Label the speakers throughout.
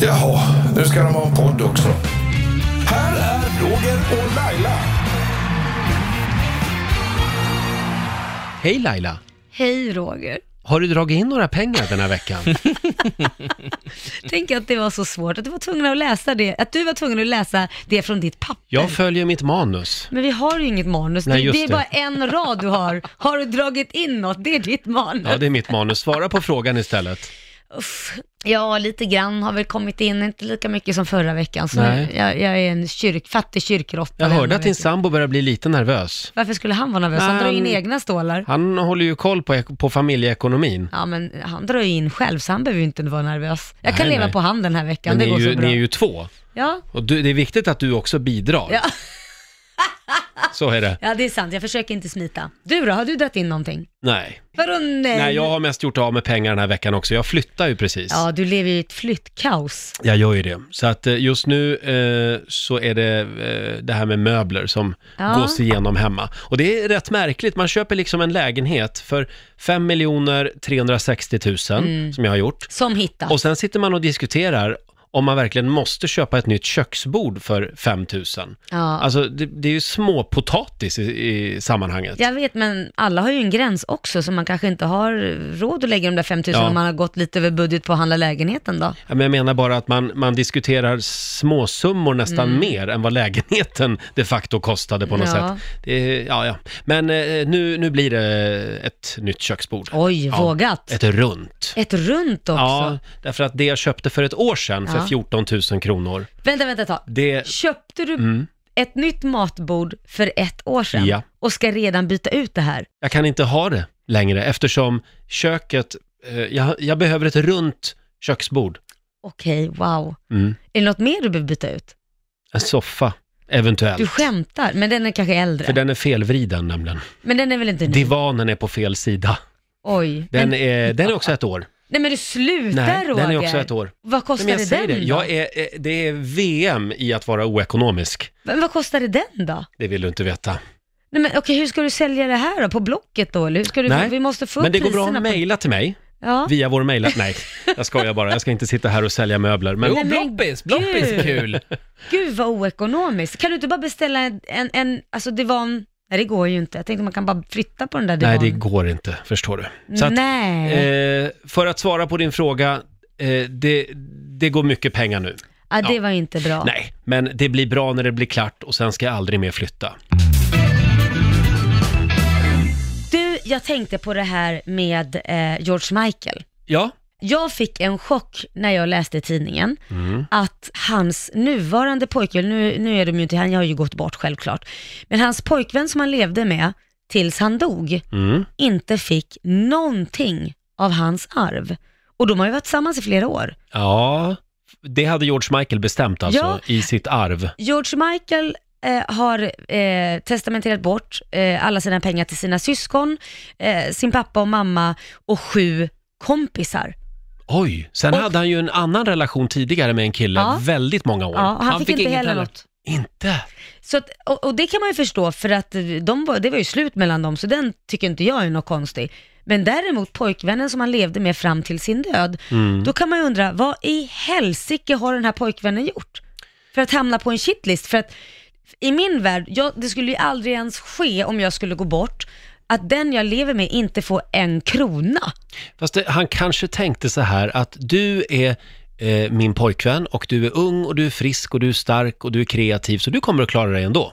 Speaker 1: Jaha, nu ska de ha en podd också. Här är Roger och Laila.
Speaker 2: Hej Laila!
Speaker 3: Hej Roger.
Speaker 2: Har du dragit in några pengar den här veckan?
Speaker 3: Tänk att det var så svårt, att du var tvungen att läsa det, att du var tvungen att läsa det från ditt papper.
Speaker 2: Jag följer mitt manus.
Speaker 3: Men vi har ju inget manus,
Speaker 2: Nej,
Speaker 3: det,
Speaker 2: just
Speaker 3: det är
Speaker 2: det.
Speaker 3: bara en rad du har. Har du dragit in något? Det är ditt manus.
Speaker 2: Ja, det är mitt manus. Svara på frågan istället.
Speaker 3: Uff. Ja, lite grann har väl kommit in, inte lika mycket som förra veckan. Så
Speaker 2: Nej.
Speaker 3: jag, jag är en kyrk, fattig kyrkråtta.
Speaker 2: Jag
Speaker 3: denna
Speaker 2: hörde att din
Speaker 3: veckan.
Speaker 2: sambo börjar bli lite nervös.
Speaker 3: Varför skulle han vara nervös? Han drar ju in
Speaker 2: Han-
Speaker 3: egna stålar.
Speaker 2: Han håller ju koll på, ek- på familjeekonomin.
Speaker 3: Ja, men han drar ju in själv, så han behöver ju inte vara nervös. Jag kan
Speaker 2: Nej,
Speaker 3: leva
Speaker 2: nej.
Speaker 3: på han den här veckan,
Speaker 2: Men
Speaker 3: det
Speaker 2: ni är,
Speaker 3: går
Speaker 2: ju,
Speaker 3: så bra.
Speaker 2: ni är ju två.
Speaker 3: Ja.
Speaker 2: Och du, det är viktigt att du också bidrar.
Speaker 3: Ja.
Speaker 2: Så är det.
Speaker 3: ja, det är sant. Jag försöker inte smita. Du då, har du dragit in någonting?
Speaker 2: Nej.
Speaker 3: Vadå nej?
Speaker 2: Nej, jag har mest gjort av med pengar den här veckan också. Jag flyttar ju precis.
Speaker 3: Ja, du lever ju i ett flyttkaos.
Speaker 2: Jag gör ju det. Så att eh, just nu eh, så är det eh, det här med möbler som
Speaker 3: Ja.
Speaker 2: gås igenom hemma. Och det är rätt märkligt. Man köper liksom en lägenhet för 5 360 000
Speaker 3: Mm.
Speaker 2: som jag har gjort.
Speaker 3: Som hittat.
Speaker 2: Och sen sitter man och diskuterar om man verkligen måste köpa ett nytt köksbord för 5 000.
Speaker 3: Ja.
Speaker 2: Alltså det, det är ju småpotatis i, i sammanhanget.
Speaker 3: Jag vet, men alla har ju en gräns också, så man kanske inte har råd att lägga de där 5 000
Speaker 2: Ja.
Speaker 3: om man har gått lite över budget på att handla lägenheten då.
Speaker 2: Ja, Men jag menar bara att man, man diskuterar småsummor nästan mer än vad lägenheten de facto kostade på något
Speaker 3: Mm. Ja.
Speaker 2: sätt. Det, är- ja, ja. Men eh, nu, nu blir det ett nytt köksbord.
Speaker 3: Oj,
Speaker 2: ja,
Speaker 3: vågat. Ett,
Speaker 2: Ett runt.
Speaker 3: runt också.
Speaker 2: Ja, därför att det jag köpte för ett år sedan för
Speaker 3: Ja.
Speaker 2: 14 000 kronor,
Speaker 3: Vänta, vänta ett tag.
Speaker 2: det...
Speaker 3: Köpte du ett nytt matbord för ett år sedan
Speaker 2: Mm. Ja.
Speaker 3: och ska redan byta ut det här?
Speaker 2: Jag kan inte ha det längre eftersom köket... Eh, jag, jag behöver ett runt köksbord.
Speaker 3: Okej, wow.
Speaker 2: Mm.
Speaker 3: Är det något mer du behöver byta ut?
Speaker 2: En soffa, eventuellt.
Speaker 3: Du skämtar, men den är kanske äldre.
Speaker 2: För den är felvriden nämligen.
Speaker 3: Men den är väl inte ny?
Speaker 2: Divanen är på fel sida.
Speaker 3: Oj.
Speaker 2: Den
Speaker 3: men,
Speaker 2: är, den är också ett år.
Speaker 3: nej men du slutar
Speaker 2: Nej,
Speaker 3: Roger.
Speaker 2: den är också ett år.
Speaker 3: Vad
Speaker 2: Nej,
Speaker 3: kostade
Speaker 2: men jag säger
Speaker 3: den
Speaker 2: det,
Speaker 3: då?
Speaker 2: jag är, eh, det är VM i att vara oekonomisk.
Speaker 3: Men vad kostade den då?
Speaker 2: Det vill du inte veta.
Speaker 3: Nej, men, okej, hur ska du sälja det här då? På Blocket då? Eller hur ska du,
Speaker 2: Nej,
Speaker 3: vi måste få upp
Speaker 2: Men det går bra
Speaker 3: priserna
Speaker 2: att
Speaker 3: på-
Speaker 2: mejla till mig,
Speaker 3: Ja.
Speaker 2: via vår mejl. Nej, jag skojar bara. Jag ska inte sitta här och sälja möbler. Men
Speaker 3: Nej,
Speaker 4: Jo,
Speaker 3: men
Speaker 4: bloppis, bloppis
Speaker 3: gud.
Speaker 4: är kul.
Speaker 3: Gud vad oekonomiskt. Kan du inte bara beställa en, en, en alltså divan? Nej det går ju inte. Jag tänkte man kan bara flytta på den där
Speaker 2: nej,
Speaker 3: divanen.
Speaker 2: det går inte, förstår du. Så att,
Speaker 3: nej.
Speaker 2: eh, för att svara på din fråga, eh, det, det går mycket pengar nu.
Speaker 3: ja, det
Speaker 2: ja.
Speaker 3: var inte bra.
Speaker 2: Nej, men det blir bra när det blir klart och sen ska jag aldrig mer flytta.
Speaker 3: Du, jag tänkte på det här med eh, George Michael.
Speaker 2: Ja,
Speaker 3: Jag fick en chock när jag läste i tidningen att hans nuvarande pojkvän, nu, nu är de ju inte, han har ju gått bort självklart, men hans pojkvän som han levde med tills han dog
Speaker 2: mm.
Speaker 3: inte fick någonting av hans arv. Och de har ju varit tillsammans i flera år.
Speaker 2: ja. Det hade George Michael bestämt alltså,
Speaker 3: Ja.
Speaker 2: i sitt arv.
Speaker 3: George Michael eh, har eh, testamenterat bort eh, alla sina pengar till sina syskon, eh, sin pappa och mamma och sju kompisar.
Speaker 2: Oj, sen
Speaker 3: Och-
Speaker 2: hade han ju en annan relation tidigare med en kille,
Speaker 3: Ja.
Speaker 2: väldigt många år.
Speaker 3: Ja, han,
Speaker 4: han
Speaker 3: fick,
Speaker 4: fick
Speaker 3: inte
Speaker 4: inget
Speaker 3: heller
Speaker 4: heller.
Speaker 3: något.
Speaker 2: Inte?
Speaker 3: Så att, och, och det kan man ju förstå för att eh, de, var- det var ju slut mellan dem så den tycker inte jag är något konstig. Men däremot pojkvännen som han levde med fram till sin död,
Speaker 2: Mm.
Speaker 3: då kan man ju undra vad i helsike har den här pojkvännen gjort? För att hamna på en shitlist? För att i min värld, jag, det skulle ju aldrig ens ske om jag skulle gå bort, att den jag lever med inte får en krona.
Speaker 2: Fast det, han kanske tänkte så här att du är eh, min pojkvän och du är ung och du är frisk och du är stark och du är kreativ så du kommer att klara dig ändå.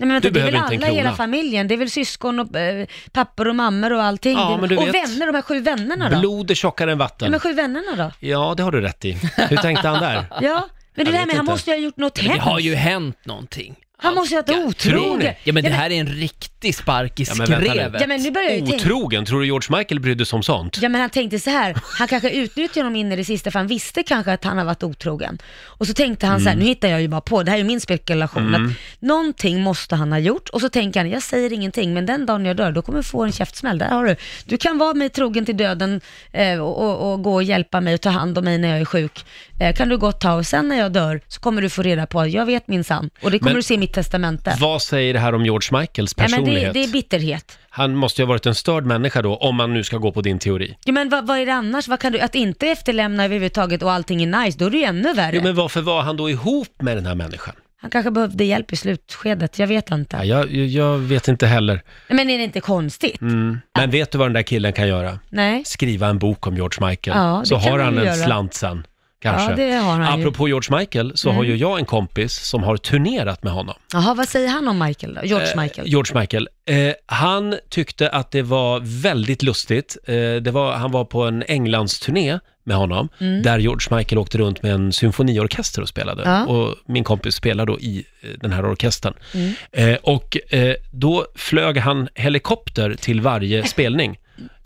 Speaker 3: Nej, men vänta,
Speaker 2: Du
Speaker 3: det är väl
Speaker 2: behöver inte en
Speaker 3: alla i hela
Speaker 2: krona.
Speaker 3: familjen, det är väl syskon och eh, pappor och mammor och allting.
Speaker 2: Ja,
Speaker 3: Det är-
Speaker 2: men du
Speaker 3: och
Speaker 2: vet-
Speaker 3: vänner, de här sju vännerna då?
Speaker 2: Blod är tjockare än
Speaker 3: Ja,
Speaker 2: vatten.
Speaker 3: men sju vännerna då?
Speaker 2: Ja, det har du rätt i. Hur tänkte han där?
Speaker 3: Ja, men
Speaker 2: Jag vet
Speaker 3: det där med han
Speaker 2: inte.
Speaker 3: måste ju ha gjort något
Speaker 4: Men det har
Speaker 3: hemskt.
Speaker 4: ju hänt någonting.
Speaker 3: Han måste ju ha varit
Speaker 2: Tror
Speaker 3: otrogen.
Speaker 2: ni?
Speaker 4: Ja men det här är en riktig spark i
Speaker 2: Ja, men vänta nu.
Speaker 4: skrevet.
Speaker 3: Ja men nu börjar jag ju tänka.
Speaker 2: Otrogen, tror du George Michael brydde sig om sånt?
Speaker 3: Ja men han tänkte så här, han kanske utnyttjade honom in i det sista för han visste kanske att han har varit otrogen. Och så tänkte han
Speaker 2: Mm.
Speaker 3: så här, nu hittar jag ju bara på, det här är ju min spekulation, att någonting måste han ha gjort. Och så tänker han, jag säger ingenting, men den dagen jag dör, då kommer jag få en käftsmäll. Där har du. Du kan vara mig trogen till döden eh, och, och, och gå och hjälpa mig och ta hand om mig när jag är sjuk. Eh, kan du gott ta, och sen när jag dör så kommer du få reda på, jag vet minsann. Och det kommer
Speaker 2: Men-
Speaker 3: du se i mitt testamente.
Speaker 2: Vad säger det här om George Michaels
Speaker 3: Nej, men
Speaker 2: personlighet?
Speaker 3: det, det är bitterhet.
Speaker 2: Han måste ju ha varit en störd människa då, om man nu ska gå på din teori.
Speaker 3: Ja, men vad, vad är det annars? Vad kan du, att inte efterlämna överhuvudtaget och allting är nice, då är det ju ännu värre.
Speaker 2: Jo, men varför var han då ihop med den här människan?
Speaker 3: Han kanske behövde hjälp i slutskedet, jag vet inte.
Speaker 2: Ja, jag, jag vet inte heller.
Speaker 3: Men är det inte konstigt?
Speaker 2: Mm. Men vet du vad den där killen kan göra?
Speaker 3: Nej.
Speaker 2: Skriva en bok om George Michael.
Speaker 3: Ja, det
Speaker 2: så
Speaker 3: kan
Speaker 2: har
Speaker 3: han
Speaker 2: han
Speaker 3: ju
Speaker 2: en
Speaker 3: göra.
Speaker 2: slant sen, kanske.
Speaker 3: Ja, det har han ju. Mm.
Speaker 2: Apropå George Michael, så har ju jag en kompis som har turnerat med honom.
Speaker 3: Jaha, vad säger han om Michael då? George Michael?
Speaker 2: George Michael. Eh, han tyckte att det var väldigt lustigt. Eh, det var, han var på en Englandsturné med honom,
Speaker 3: Mm.
Speaker 2: där George Michael åkte runt med en symfoniorkester och spelade.
Speaker 3: Ja.
Speaker 2: Och min kompis spelade då i eh, den här orkestern.
Speaker 3: Mm.
Speaker 2: Eh, och eh, då flög han helikopter till varje spelning.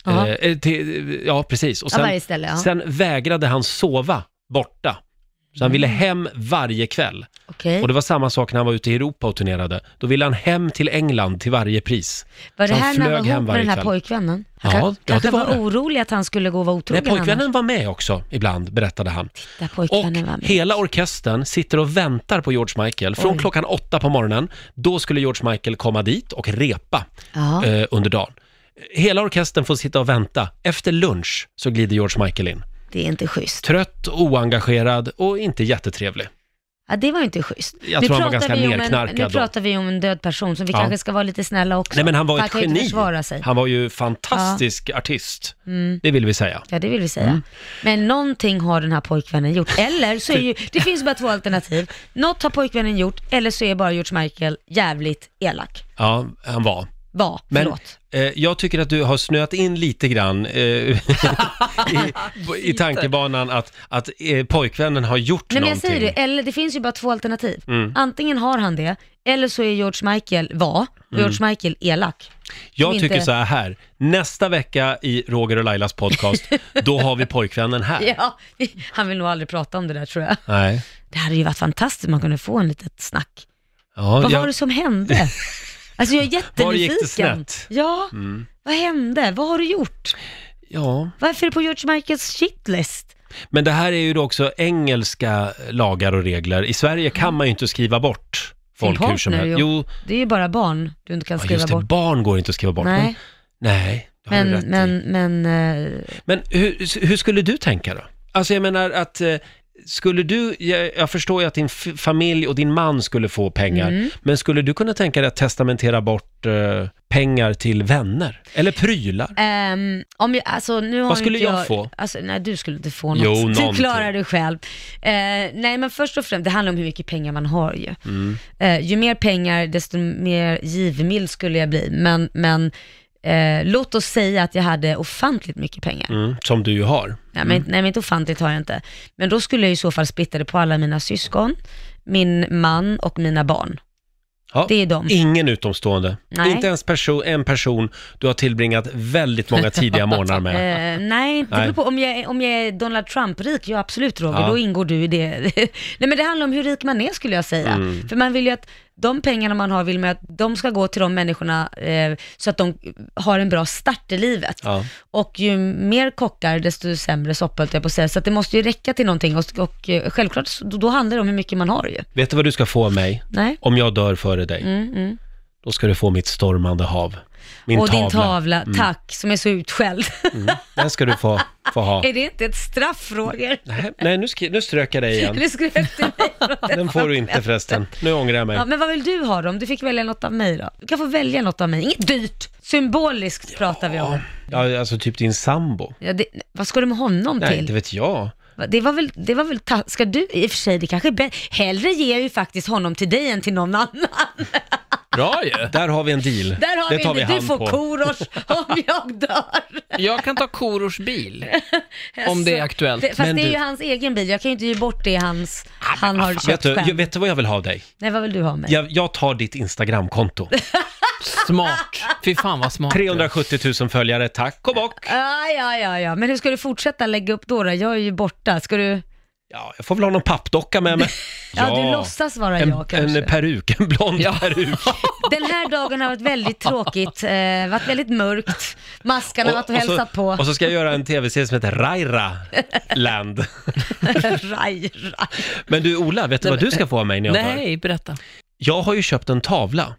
Speaker 3: Jaha.
Speaker 2: Eh, eh, till, ja, precis. Och
Speaker 3: Ja,
Speaker 2: sen,
Speaker 3: varje ställe, ja.
Speaker 2: sen vägrade han sova borta. Så han
Speaker 3: Mm.
Speaker 2: ville hem varje kväll.
Speaker 3: Okej.
Speaker 2: Och det var samma sak när han var ute i Europa och turnerade. Då ville han hem till England till varje pris.
Speaker 3: Var det
Speaker 2: Så han
Speaker 3: här när han
Speaker 2: flög
Speaker 3: var
Speaker 2: hem
Speaker 3: ihop med
Speaker 2: varje
Speaker 3: den här
Speaker 2: kväll.
Speaker 3: pojkvännen?
Speaker 2: Ja,
Speaker 3: Han kan-
Speaker 2: ja, det
Speaker 3: kanske
Speaker 2: var
Speaker 3: var
Speaker 2: det.
Speaker 3: orolig att han skulle gå och vara
Speaker 2: Nej,
Speaker 3: otrogen annars.
Speaker 2: pojkvännen var med också ibland, berättade han.
Speaker 3: Där
Speaker 2: Och
Speaker 3: pojkvännen var med.
Speaker 2: hela orkestern sitter och väntar på George Michael. Från
Speaker 3: Oj.
Speaker 2: klockan åtta på morgonen, då skulle George Michael komma dit och repa
Speaker 3: Ja.
Speaker 2: eh, under dagen. Hela orkestern får sitta och vänta. Efter lunch så glider George Michael in.
Speaker 3: Det är inte schysst.
Speaker 2: Trött, oengagerad och inte jättetrevlig.
Speaker 3: Ja, det var ju inte schysst.
Speaker 2: Jag tror han var ganska
Speaker 3: vi om en,
Speaker 2: nerknarkad
Speaker 3: Nu
Speaker 2: då.
Speaker 3: pratar vi om en död person, så vi
Speaker 2: Ja.
Speaker 3: kanske ska vara lite snälla också.
Speaker 2: Nej men han var
Speaker 3: För
Speaker 2: ett
Speaker 3: kan ju inte
Speaker 2: geni.
Speaker 3: försvara sig. Mm.
Speaker 2: Han var ju fantastisk artist. Det vill vi säga.
Speaker 3: Ja, det vill vi säga.
Speaker 2: Mm.
Speaker 3: Men någonting har den här pojkvännen gjort. Eller så är ju, det finns bara två alternativ. Något har pojkvännen gjort, eller så är bara George Michael jävligt elak.
Speaker 2: Ja, han var.
Speaker 3: Var,
Speaker 2: Men
Speaker 3: förlåt.
Speaker 2: eh, jag tycker att du har snöat in lite grann eh, i, i tankebanan att, att eh, pojkvännen har gjort
Speaker 3: Nej men jag
Speaker 2: någonting. Mm.
Speaker 3: säger det, eller det finns ju bara två alternativ. Antingen har han det, eller så är George Michael, var,
Speaker 2: Mm.
Speaker 3: och George Michael elak.
Speaker 2: jag
Speaker 3: som
Speaker 2: tycker
Speaker 3: inte-
Speaker 2: så här, nästa vecka i Roger och Lailas podcast, då har vi pojkvännen här.
Speaker 3: Ja, han vill nog aldrig prata om det där tror jag.
Speaker 2: Nej.
Speaker 3: Det hade ju varit fantastiskt om man kunde få en litet snack.
Speaker 2: Ja,
Speaker 3: Vad
Speaker 2: jag,
Speaker 3: var det som hände? Alltså jag är jättenyfiken.
Speaker 2: Var gick det snett? Mm.
Speaker 3: Ja, vad hände? Vad har du gjort?
Speaker 2: ja.
Speaker 3: Varför är det på George Michaels shitlist?
Speaker 2: Men det här är ju då också engelska lagar och regler. I Sverige kan man ju inte skriva bort folk hur som
Speaker 3: partner,
Speaker 2: helst. Jo,
Speaker 3: Det är ju bara barn du inte kan
Speaker 2: ja,
Speaker 3: skriva
Speaker 2: just det,
Speaker 3: bort.
Speaker 2: barn går inte att skriva bort.
Speaker 3: Nej,
Speaker 2: Men, nej, det har
Speaker 3: men,
Speaker 2: du rätt i.
Speaker 3: men, men, eh,
Speaker 2: Men hur, hur skulle du tänka då? Alltså jag menar att, eh, skulle du, jag, jag förstår ju att din f- familj och din man skulle få pengar,
Speaker 3: Mm.
Speaker 2: men skulle du kunna tänka dig att testamentera bort eh, pengar till vänner? Eller prylar?
Speaker 3: Ehm, om jag, alltså, nu har
Speaker 2: Vad skulle
Speaker 3: inte
Speaker 2: jag få?
Speaker 3: Alltså, nej, du skulle inte få
Speaker 2: Jo,
Speaker 3: något. du
Speaker 2: någonting.
Speaker 3: klarar det själv. Eh, nej, men först och främst, det handlar om hur mycket pengar man har ju.
Speaker 2: Mm.
Speaker 3: Eh, ju mer pengar, desto mer givmild skulle jag bli. Men, men eh, låt oss säga att jag hade ofantligt mycket pengar.
Speaker 2: Mm, som du ju har.
Speaker 3: Nej, men, nej, men inte ofantligt har jag inte. Men då skulle jag i så fall splitta det på alla mina syskon, min man och mina barn.
Speaker 2: Ja.
Speaker 3: Det är de.
Speaker 2: Ingen utomstående.
Speaker 3: Nej.
Speaker 2: Inte ens perso- en person du har tillbringat väldigt många tidiga morgnar med.
Speaker 3: Eh, nej, det
Speaker 2: Nej.
Speaker 3: beror på. Om jag, är- om jag är Donald Trump-rik, ja absolut Roger,
Speaker 2: Ja.
Speaker 3: då ingår du i det. nej men det handlar om hur rik man är skulle jag säga.
Speaker 2: Mm.
Speaker 3: För man vill ju att de pengarna man har vill man ju att de ska gå till de människorna eh, så att de har en bra start i livet.
Speaker 2: Ja.
Speaker 3: Och ju mer kockar, desto sämre soppa höll jag på att säga. Så att det måste ju räcka till någonting och, och eh, självklart så- då, då handlar det om hur mycket man har ju.
Speaker 2: Vet du vad du ska få av mig?
Speaker 3: Nej?
Speaker 2: Om jag dör före dig,
Speaker 3: Mm, mm.
Speaker 2: då ska du få mitt stormande hav. Min
Speaker 3: och
Speaker 2: tavla. Mm.
Speaker 3: din tavla, tack, som är så utskälld.
Speaker 2: Den ska du få, få ha.
Speaker 3: är det inte ett straff Roger?
Speaker 2: Nej, Nej, nu, skri- nu strök jag dig igen.
Speaker 3: Nu skrek du mig från det.
Speaker 2: Den får du inte förresten. Nu ångrar jag mig.
Speaker 3: Ja, men vad vill du ha då? Om du fick välja något av mig då? Du kan få välja något av mig. Inget dyrt! Symboliskt pratar vi om.
Speaker 2: Ja, alltså typ din sambo.
Speaker 3: Ja, det, vad ska du med honom
Speaker 2: Nej,
Speaker 3: till?
Speaker 2: inte vet jag.
Speaker 3: Va- Det var väl, det var väl ta- ska du, i och för sig, det kanske är bättre. Hellre ger jag ju faktiskt honom till dig än till någon annan.
Speaker 2: Bra ju! Där har vi en deal.
Speaker 3: Där har
Speaker 2: det
Speaker 3: vi
Speaker 2: tar
Speaker 3: det.
Speaker 2: hand
Speaker 3: Du får
Speaker 2: på.
Speaker 3: Korosh om jag dör.
Speaker 4: Jag kan ta Korors bil. Om det är aktuellt.
Speaker 3: Det, fast
Speaker 2: Men
Speaker 3: det är
Speaker 2: du- Ah,
Speaker 3: ju hans egen bil, jag kan ju inte ge bort det hans, han har
Speaker 2: Vet
Speaker 3: köpt
Speaker 2: du, jag,
Speaker 3: själv.
Speaker 2: vet du vad jag vill ha av dig?
Speaker 3: Nej, vad vill du ha mig?
Speaker 2: Jag, jag tar ditt Instagramkonto.
Speaker 4: Smart. Fy fan vad smart.
Speaker 2: 370 000 följare, tack och bock.
Speaker 3: Ah, ja, ja, ja, men hur ska du fortsätta lägga upp då? då? Jag är ju borta. Ska du...
Speaker 2: Ja, jag får väl ha någon pappdocka med mig.
Speaker 3: Ja, du låtsas vara
Speaker 2: en,
Speaker 3: jag kanske.
Speaker 2: En peruk, en blond
Speaker 4: Ja.
Speaker 2: peruk.
Speaker 3: Den här dagen har varit väldigt tråkigt, eh, varit väldigt mörkt, maskarna har varit och
Speaker 2: så,
Speaker 3: hälsat på.
Speaker 2: och så ska jag göra en tv-serie som heter Raira Land.
Speaker 3: Raj, raj.
Speaker 2: Men du Ola, vet du vad du ska få av mig när jag dör?
Speaker 4: Nej, berätta.
Speaker 2: Jag har ju köpt en tavla,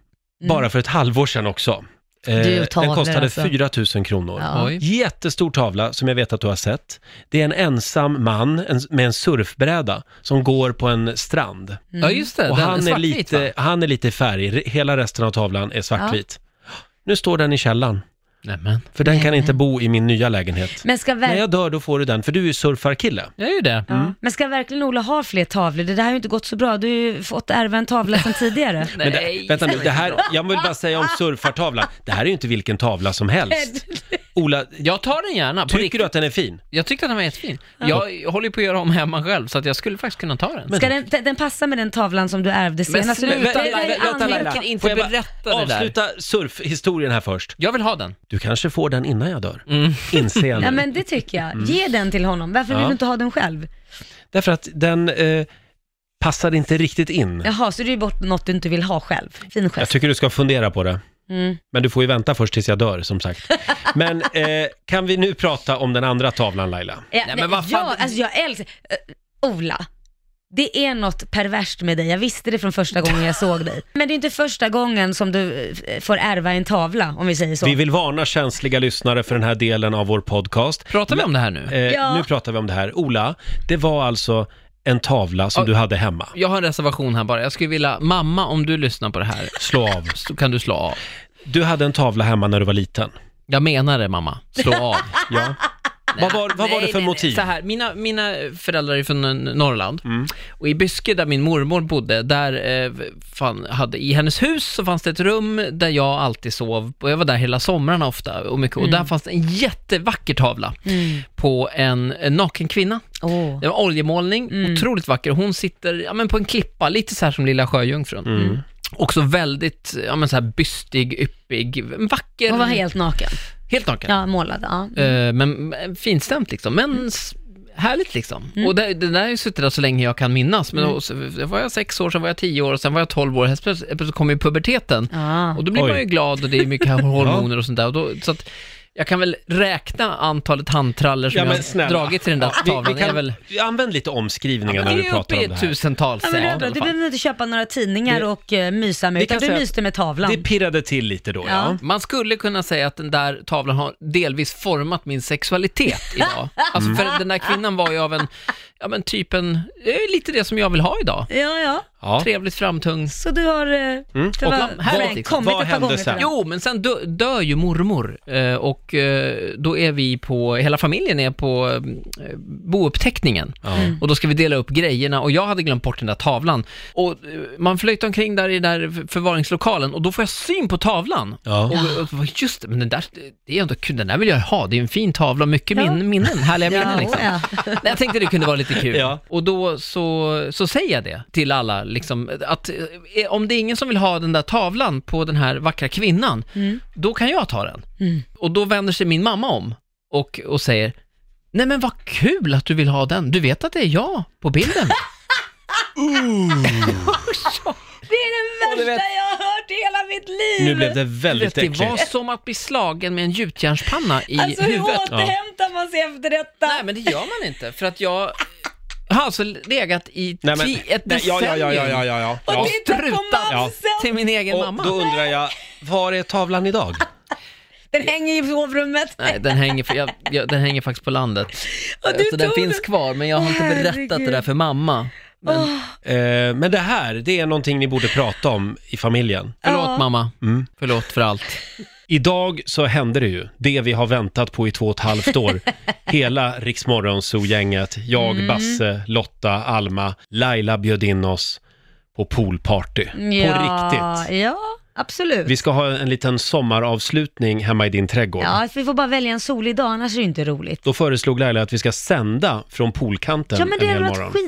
Speaker 2: bara för ett halvår sedan också. Eh,
Speaker 3: Du,
Speaker 2: den
Speaker 3: tavlor
Speaker 2: kostade
Speaker 3: alltså.
Speaker 2: 4 000 kronor.
Speaker 3: Ja.
Speaker 4: Oj.
Speaker 2: Jättestor tavla som jag vet att du har sett. Det är en ensam man en, med en surfbräda som går på en strand.
Speaker 4: Ja, just det.
Speaker 2: Och
Speaker 4: den
Speaker 2: han är,
Speaker 4: svartvit, va?
Speaker 2: lite, han är lite i färg, Re- hela resten av tavlan är svartvit. Nu står den i källaren,
Speaker 4: Nämen.
Speaker 2: för den kan inte bo i min nya lägenhet.
Speaker 3: Men ska,
Speaker 2: När
Speaker 3: verk-
Speaker 2: jag dör då får du den, för du är ju surfarkille.
Speaker 4: Jag är ju det.
Speaker 2: Mm.
Speaker 3: ja. Men ska verkligen Ola ha fler tavlor? Det där har ju inte gått så bra. Du har ju fått ärva en tavla sedan tidigare.
Speaker 2: Men det, vänta nu, det här, jag vill bara säga om surfartavlan, det här är ju inte vilken tavla som helst. Ola,
Speaker 4: Jag tar den gärna. På
Speaker 2: tycker
Speaker 4: riktigt.
Speaker 2: du att den är fin?
Speaker 4: Jag tyckte att den var jättefin. Jag håller ju på att göra om hemma själv, så att jag skulle faktiskt kunna ta den.
Speaker 3: Ska den, den- den passa med den tavlan som du ärvde senast?
Speaker 4: Men sluta,
Speaker 3: Det- det- det-
Speaker 4: Laila,
Speaker 3: det- det-
Speaker 4: vänta, Laila.
Speaker 3: det-
Speaker 4: inte
Speaker 2: Får jag bara
Speaker 4: berätta det där.
Speaker 2: Avsluta surfhistorien här först.
Speaker 4: Jag vill ha den.
Speaker 2: Du kanske får den innan jag dör. Inser jag
Speaker 3: Ja
Speaker 2: nu.
Speaker 3: men det tycker jag. Ge den till honom. Varför
Speaker 2: Ja.
Speaker 3: vill du inte ha den själv?
Speaker 2: Därför att den eh, passar inte riktigt in.
Speaker 3: Jaha, så du är bort något du inte vill ha själv. Fin
Speaker 2: Jag
Speaker 3: gest.
Speaker 2: tycker du ska fundera på det.
Speaker 3: Mm.
Speaker 2: Men du får ju vänta först tills jag dör, som sagt. Men eh, kan vi nu prata om den andra tavlan, Laila?
Speaker 3: Eh, Ja,
Speaker 4: Nej,
Speaker 3: nej,
Speaker 4: men vad fan-
Speaker 3: jag, alltså jag älskar... Eh, Ola, det är något perverst med dig. Jag visste det från första gången jag såg dig. Men det är inte första gången som du eh, får ärva en tavla, om vi säger så.
Speaker 2: Vi vill varna känsliga lyssnare för den här delen av vår podcast.
Speaker 4: Pratar vi om det här nu?
Speaker 2: Eh,
Speaker 3: Ja.
Speaker 2: Nu pratar vi om det här. Ola, det var alltså en tavla som
Speaker 4: Ja.
Speaker 2: du hade hemma.
Speaker 4: Jag har en reservation här bara. Jag skulle vilja, mamma om du lyssnar på det här,
Speaker 2: Slå av.
Speaker 4: så kan du slå av.
Speaker 2: Du hade en tavla hemma när du var liten.
Speaker 4: Jag menar det mamma, slå av.
Speaker 2: Ja. Vad var, vad var det för motiv? Mm.
Speaker 4: Så här, mina, mina föräldrar är från eh, Norrland. Och i Byske där min mormor bodde, där eh, fan, hade, i hennes hus så fanns det ett rum där jag alltid sov. Och jag var där hela somrarna ofta. Och, mycket,
Speaker 2: Mm.
Speaker 4: och där fanns det en jättevacker tavla på en, en naken kvinna.
Speaker 3: Åh.
Speaker 4: Det var oljemålning,
Speaker 3: Mm.
Speaker 4: otroligt vacker. Hon sitter ja, men på en klippa, lite så här som Lilla Sjöjungfrun.
Speaker 2: Mm.
Speaker 4: Också väldigt ja, men så här bystig, yppig, vacker.
Speaker 3: Hon var helt naken.
Speaker 4: helt naken.
Speaker 3: Ja, målad. Ja.
Speaker 4: Eh, men men finstämt liksom, men s- härligt liksom.
Speaker 3: Mm.
Speaker 4: Och det, det där har ju suttit där så länge jag kan minnas. Men då, så var jag sex år, sen var jag tio år, och sen var jag tolv år, helt plötsligt helt plötsligt kom ju puberteten.
Speaker 3: Ja.
Speaker 4: Och då blir
Speaker 2: Oj.
Speaker 4: man ju glad och det är mycket hormoner och sånt där. Och då, så att, jag kan väl räkna antalet handtrallor som
Speaker 2: Ja, men
Speaker 4: jag
Speaker 2: snälla.
Speaker 4: har dragit till den där
Speaker 2: Vi,
Speaker 4: tavlan.
Speaker 2: vi
Speaker 4: Jag är
Speaker 2: kan,
Speaker 4: väl,
Speaker 2: Använd lite omskrivningar
Speaker 4: det
Speaker 2: när du
Speaker 4: är
Speaker 2: pratar
Speaker 4: uppe i
Speaker 2: om det
Speaker 4: ett
Speaker 2: här.
Speaker 4: tusentals.
Speaker 3: Ja, men
Speaker 4: säger
Speaker 3: det
Speaker 4: jag
Speaker 3: är
Speaker 4: i
Speaker 3: bra.
Speaker 4: alla
Speaker 3: Du
Speaker 4: fall.
Speaker 3: behöver inte köpa några tidningar
Speaker 2: Det-
Speaker 3: och eh, mysa med,
Speaker 2: Vi kan
Speaker 3: utan du
Speaker 2: säga-
Speaker 3: myste med tavlan.
Speaker 2: Det pirrade till lite då, ja.
Speaker 3: Ja.
Speaker 4: Man skulle kunna säga att den där tavlan har delvis format min sexualitet idag. Alltså för den där kvinnan var ju av en, ja men typ en, eh, lite det som jag vill ha idag.
Speaker 3: Ja, ja.
Speaker 2: ja.
Speaker 4: Trevligt framtungs...
Speaker 3: Så du har... eh, Det
Speaker 2: Och
Speaker 3: var,
Speaker 4: vad-
Speaker 3: nej,
Speaker 4: liksom,
Speaker 3: kommit
Speaker 2: vad
Speaker 3: ett par
Speaker 2: hände
Speaker 3: gånger
Speaker 2: sen?
Speaker 3: till den.
Speaker 4: Jo, men sen dö, dör ju mormor eh, och eh, då är vi på, hela familjen är på eh, bouppteckningen.
Speaker 3: Mm.
Speaker 4: Och då ska vi dela upp grejerna och jag hade glömt bort den där tavlan. Och eh, man flöjtar omkring där i den där förvaringslokalen och då får jag syn på tavlan.
Speaker 2: Ja.
Speaker 4: Och, och och just det, men den där, det är ändå kul, den där vill jag ha, det är en fin tavla, mycket min, minnen, härliga minnen
Speaker 3: Ja,
Speaker 4: liksom.
Speaker 3: ja.
Speaker 4: Nej, Jag tänkte det kunde vara lite kul.
Speaker 2: Ja.
Speaker 4: Och då så, så säger jag det till alla, liksom, att eh, om det är ingen som vill ha den där tavlan på den här vackra kvinnan,
Speaker 3: Mm.
Speaker 4: då kan jag ta den. Och då vänder sig min mamma om och, och säger, nej men vad kul att du vill ha den, du vet att det är jag på bilden.
Speaker 3: Det är den
Speaker 4: du
Speaker 3: värsta
Speaker 4: vet-
Speaker 3: jag har hört i hela mitt liv!
Speaker 2: Nu blev det
Speaker 4: Vet,
Speaker 2: väldigt
Speaker 4: det var
Speaker 2: äckligt.
Speaker 4: som att bli slagen med en gjutjärnspanna i
Speaker 3: Alltså hur
Speaker 4: huvudet.
Speaker 3: återhämtar man sig efter detta?
Speaker 4: Nej men det gör man inte, för att jag har alltså legat i
Speaker 2: Nej, men-
Speaker 4: ti- ett
Speaker 2: Nej,
Speaker 4: decennium
Speaker 2: ja, ja, ja, ja, ja, ja, ja.
Speaker 3: och
Speaker 2: ja.
Speaker 3: titta på
Speaker 4: strutar.
Speaker 3: mamsen!
Speaker 4: till min egen
Speaker 2: Och
Speaker 4: mamma.
Speaker 2: då undrar jag, var är tavlan idag?
Speaker 3: Den hänger i sovrummet.
Speaker 4: Nej, den hänger, för jag, jag, den hänger faktiskt på landet.
Speaker 3: Och
Speaker 4: Eh,
Speaker 3: du
Speaker 2: Alltså,
Speaker 4: Så den
Speaker 3: tog
Speaker 4: finns
Speaker 3: den.
Speaker 4: kvar, men jag har inte
Speaker 3: Herregud.
Speaker 4: berättat det där för mamma. Men,
Speaker 2: Eh, men det här, det är någonting ni borde prata om i familjen.
Speaker 4: Förlåt
Speaker 3: Ja.
Speaker 4: mamma,
Speaker 2: Mm.
Speaker 4: förlåt för allt.
Speaker 2: Idag så hände det ju, det vi har väntat på i två och ett halvt år. Hela Riksmorgonzoo-gänget, jag,
Speaker 4: Mm.
Speaker 2: Basse, Lotta, Alma, Laila bjöd in oss på poolparty. På riktigt.
Speaker 3: Ja, absolut.
Speaker 2: Vi ska ha en liten sommaravslutning hemma i din trädgård.
Speaker 3: Ja, vi får bara välja en solig dag, annars är det inte roligt.
Speaker 2: Då föreslog Laila att vi ska sända från poolkanten
Speaker 3: Ja men det
Speaker 2: en hel
Speaker 3: hade
Speaker 2: morgon.
Speaker 3: varit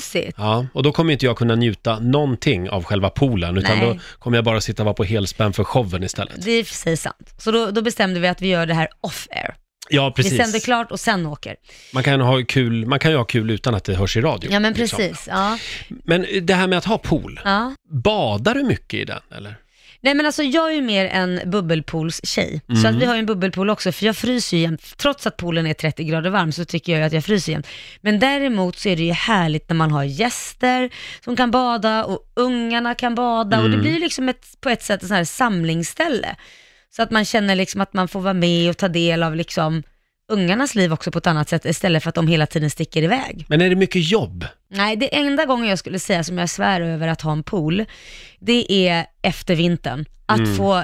Speaker 3: skitmysigt.
Speaker 2: Ja, och då kommer inte jag kunna njuta någonting av själva poolen, utan
Speaker 3: Nej.
Speaker 2: då kommer jag bara sitta och vara på helspänn för showen istället.
Speaker 3: Det är i och för sig sant. Så då, då bestämde vi att vi gör det här off air.
Speaker 2: Ja,
Speaker 3: Vi sänder
Speaker 2: precis.
Speaker 3: klart och sen åker.
Speaker 2: Man kan, ha kul, man kan ju ha kul utan att det hörs i radio.
Speaker 3: Ja men
Speaker 2: liksom.
Speaker 3: precis. Ja,
Speaker 2: Men det här med att ha pool,
Speaker 3: ja.
Speaker 2: badar du mycket i den eller?
Speaker 3: Nej men alltså jag är ju mer en bubbelpoolstjej. Så att vi har ju en bubbelpool också, för jag fryser ju jämt. Trots att poolen är 30 grader varm så tycker jag ju att jag fryser jämt. Men däremot så är det ju härligt när man har gäster som kan bada och ungarna kan bada och det blir ju liksom ett, på ett sätt ett sånt här samlingsställe. Så att man känner liksom att man får vara med och ta del av liksom ungarnas liv också på ett annat sätt istället för att de hela tiden sticker iväg.
Speaker 2: Men är det mycket jobb?
Speaker 3: Nej, det enda gången jag skulle säga som jag svär över att ha en pool, det är efter vintern. Att
Speaker 2: Mm.
Speaker 3: få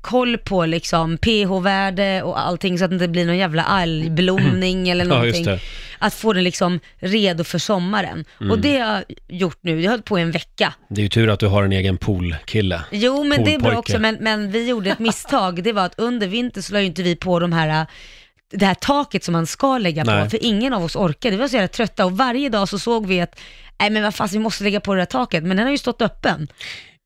Speaker 3: koll på liksom pH-värde och allting så att det inte blir någon jävla algblomning eller
Speaker 2: Ja, just
Speaker 3: någonting.
Speaker 2: det. Mm.
Speaker 3: att få den liksom redo för sommaren. Och det har jag gjort nu, jag höll på i en vecka.
Speaker 2: Det är ju tur att du har en egen poolkille.
Speaker 3: Jo, men det är bra
Speaker 2: Poolpojke.
Speaker 3: också, men, men vi gjorde ett misstag. Det var att under vintern så la ju inte vi på de här äh, det här taket som man ska lägga
Speaker 2: Nej.
Speaker 3: på, för ingen av oss orkade. Vi var så jävla trötta och varje dag så såg vi att, nej men vad fan, vi måste lägga på det här taket, men den har ju stått öppen.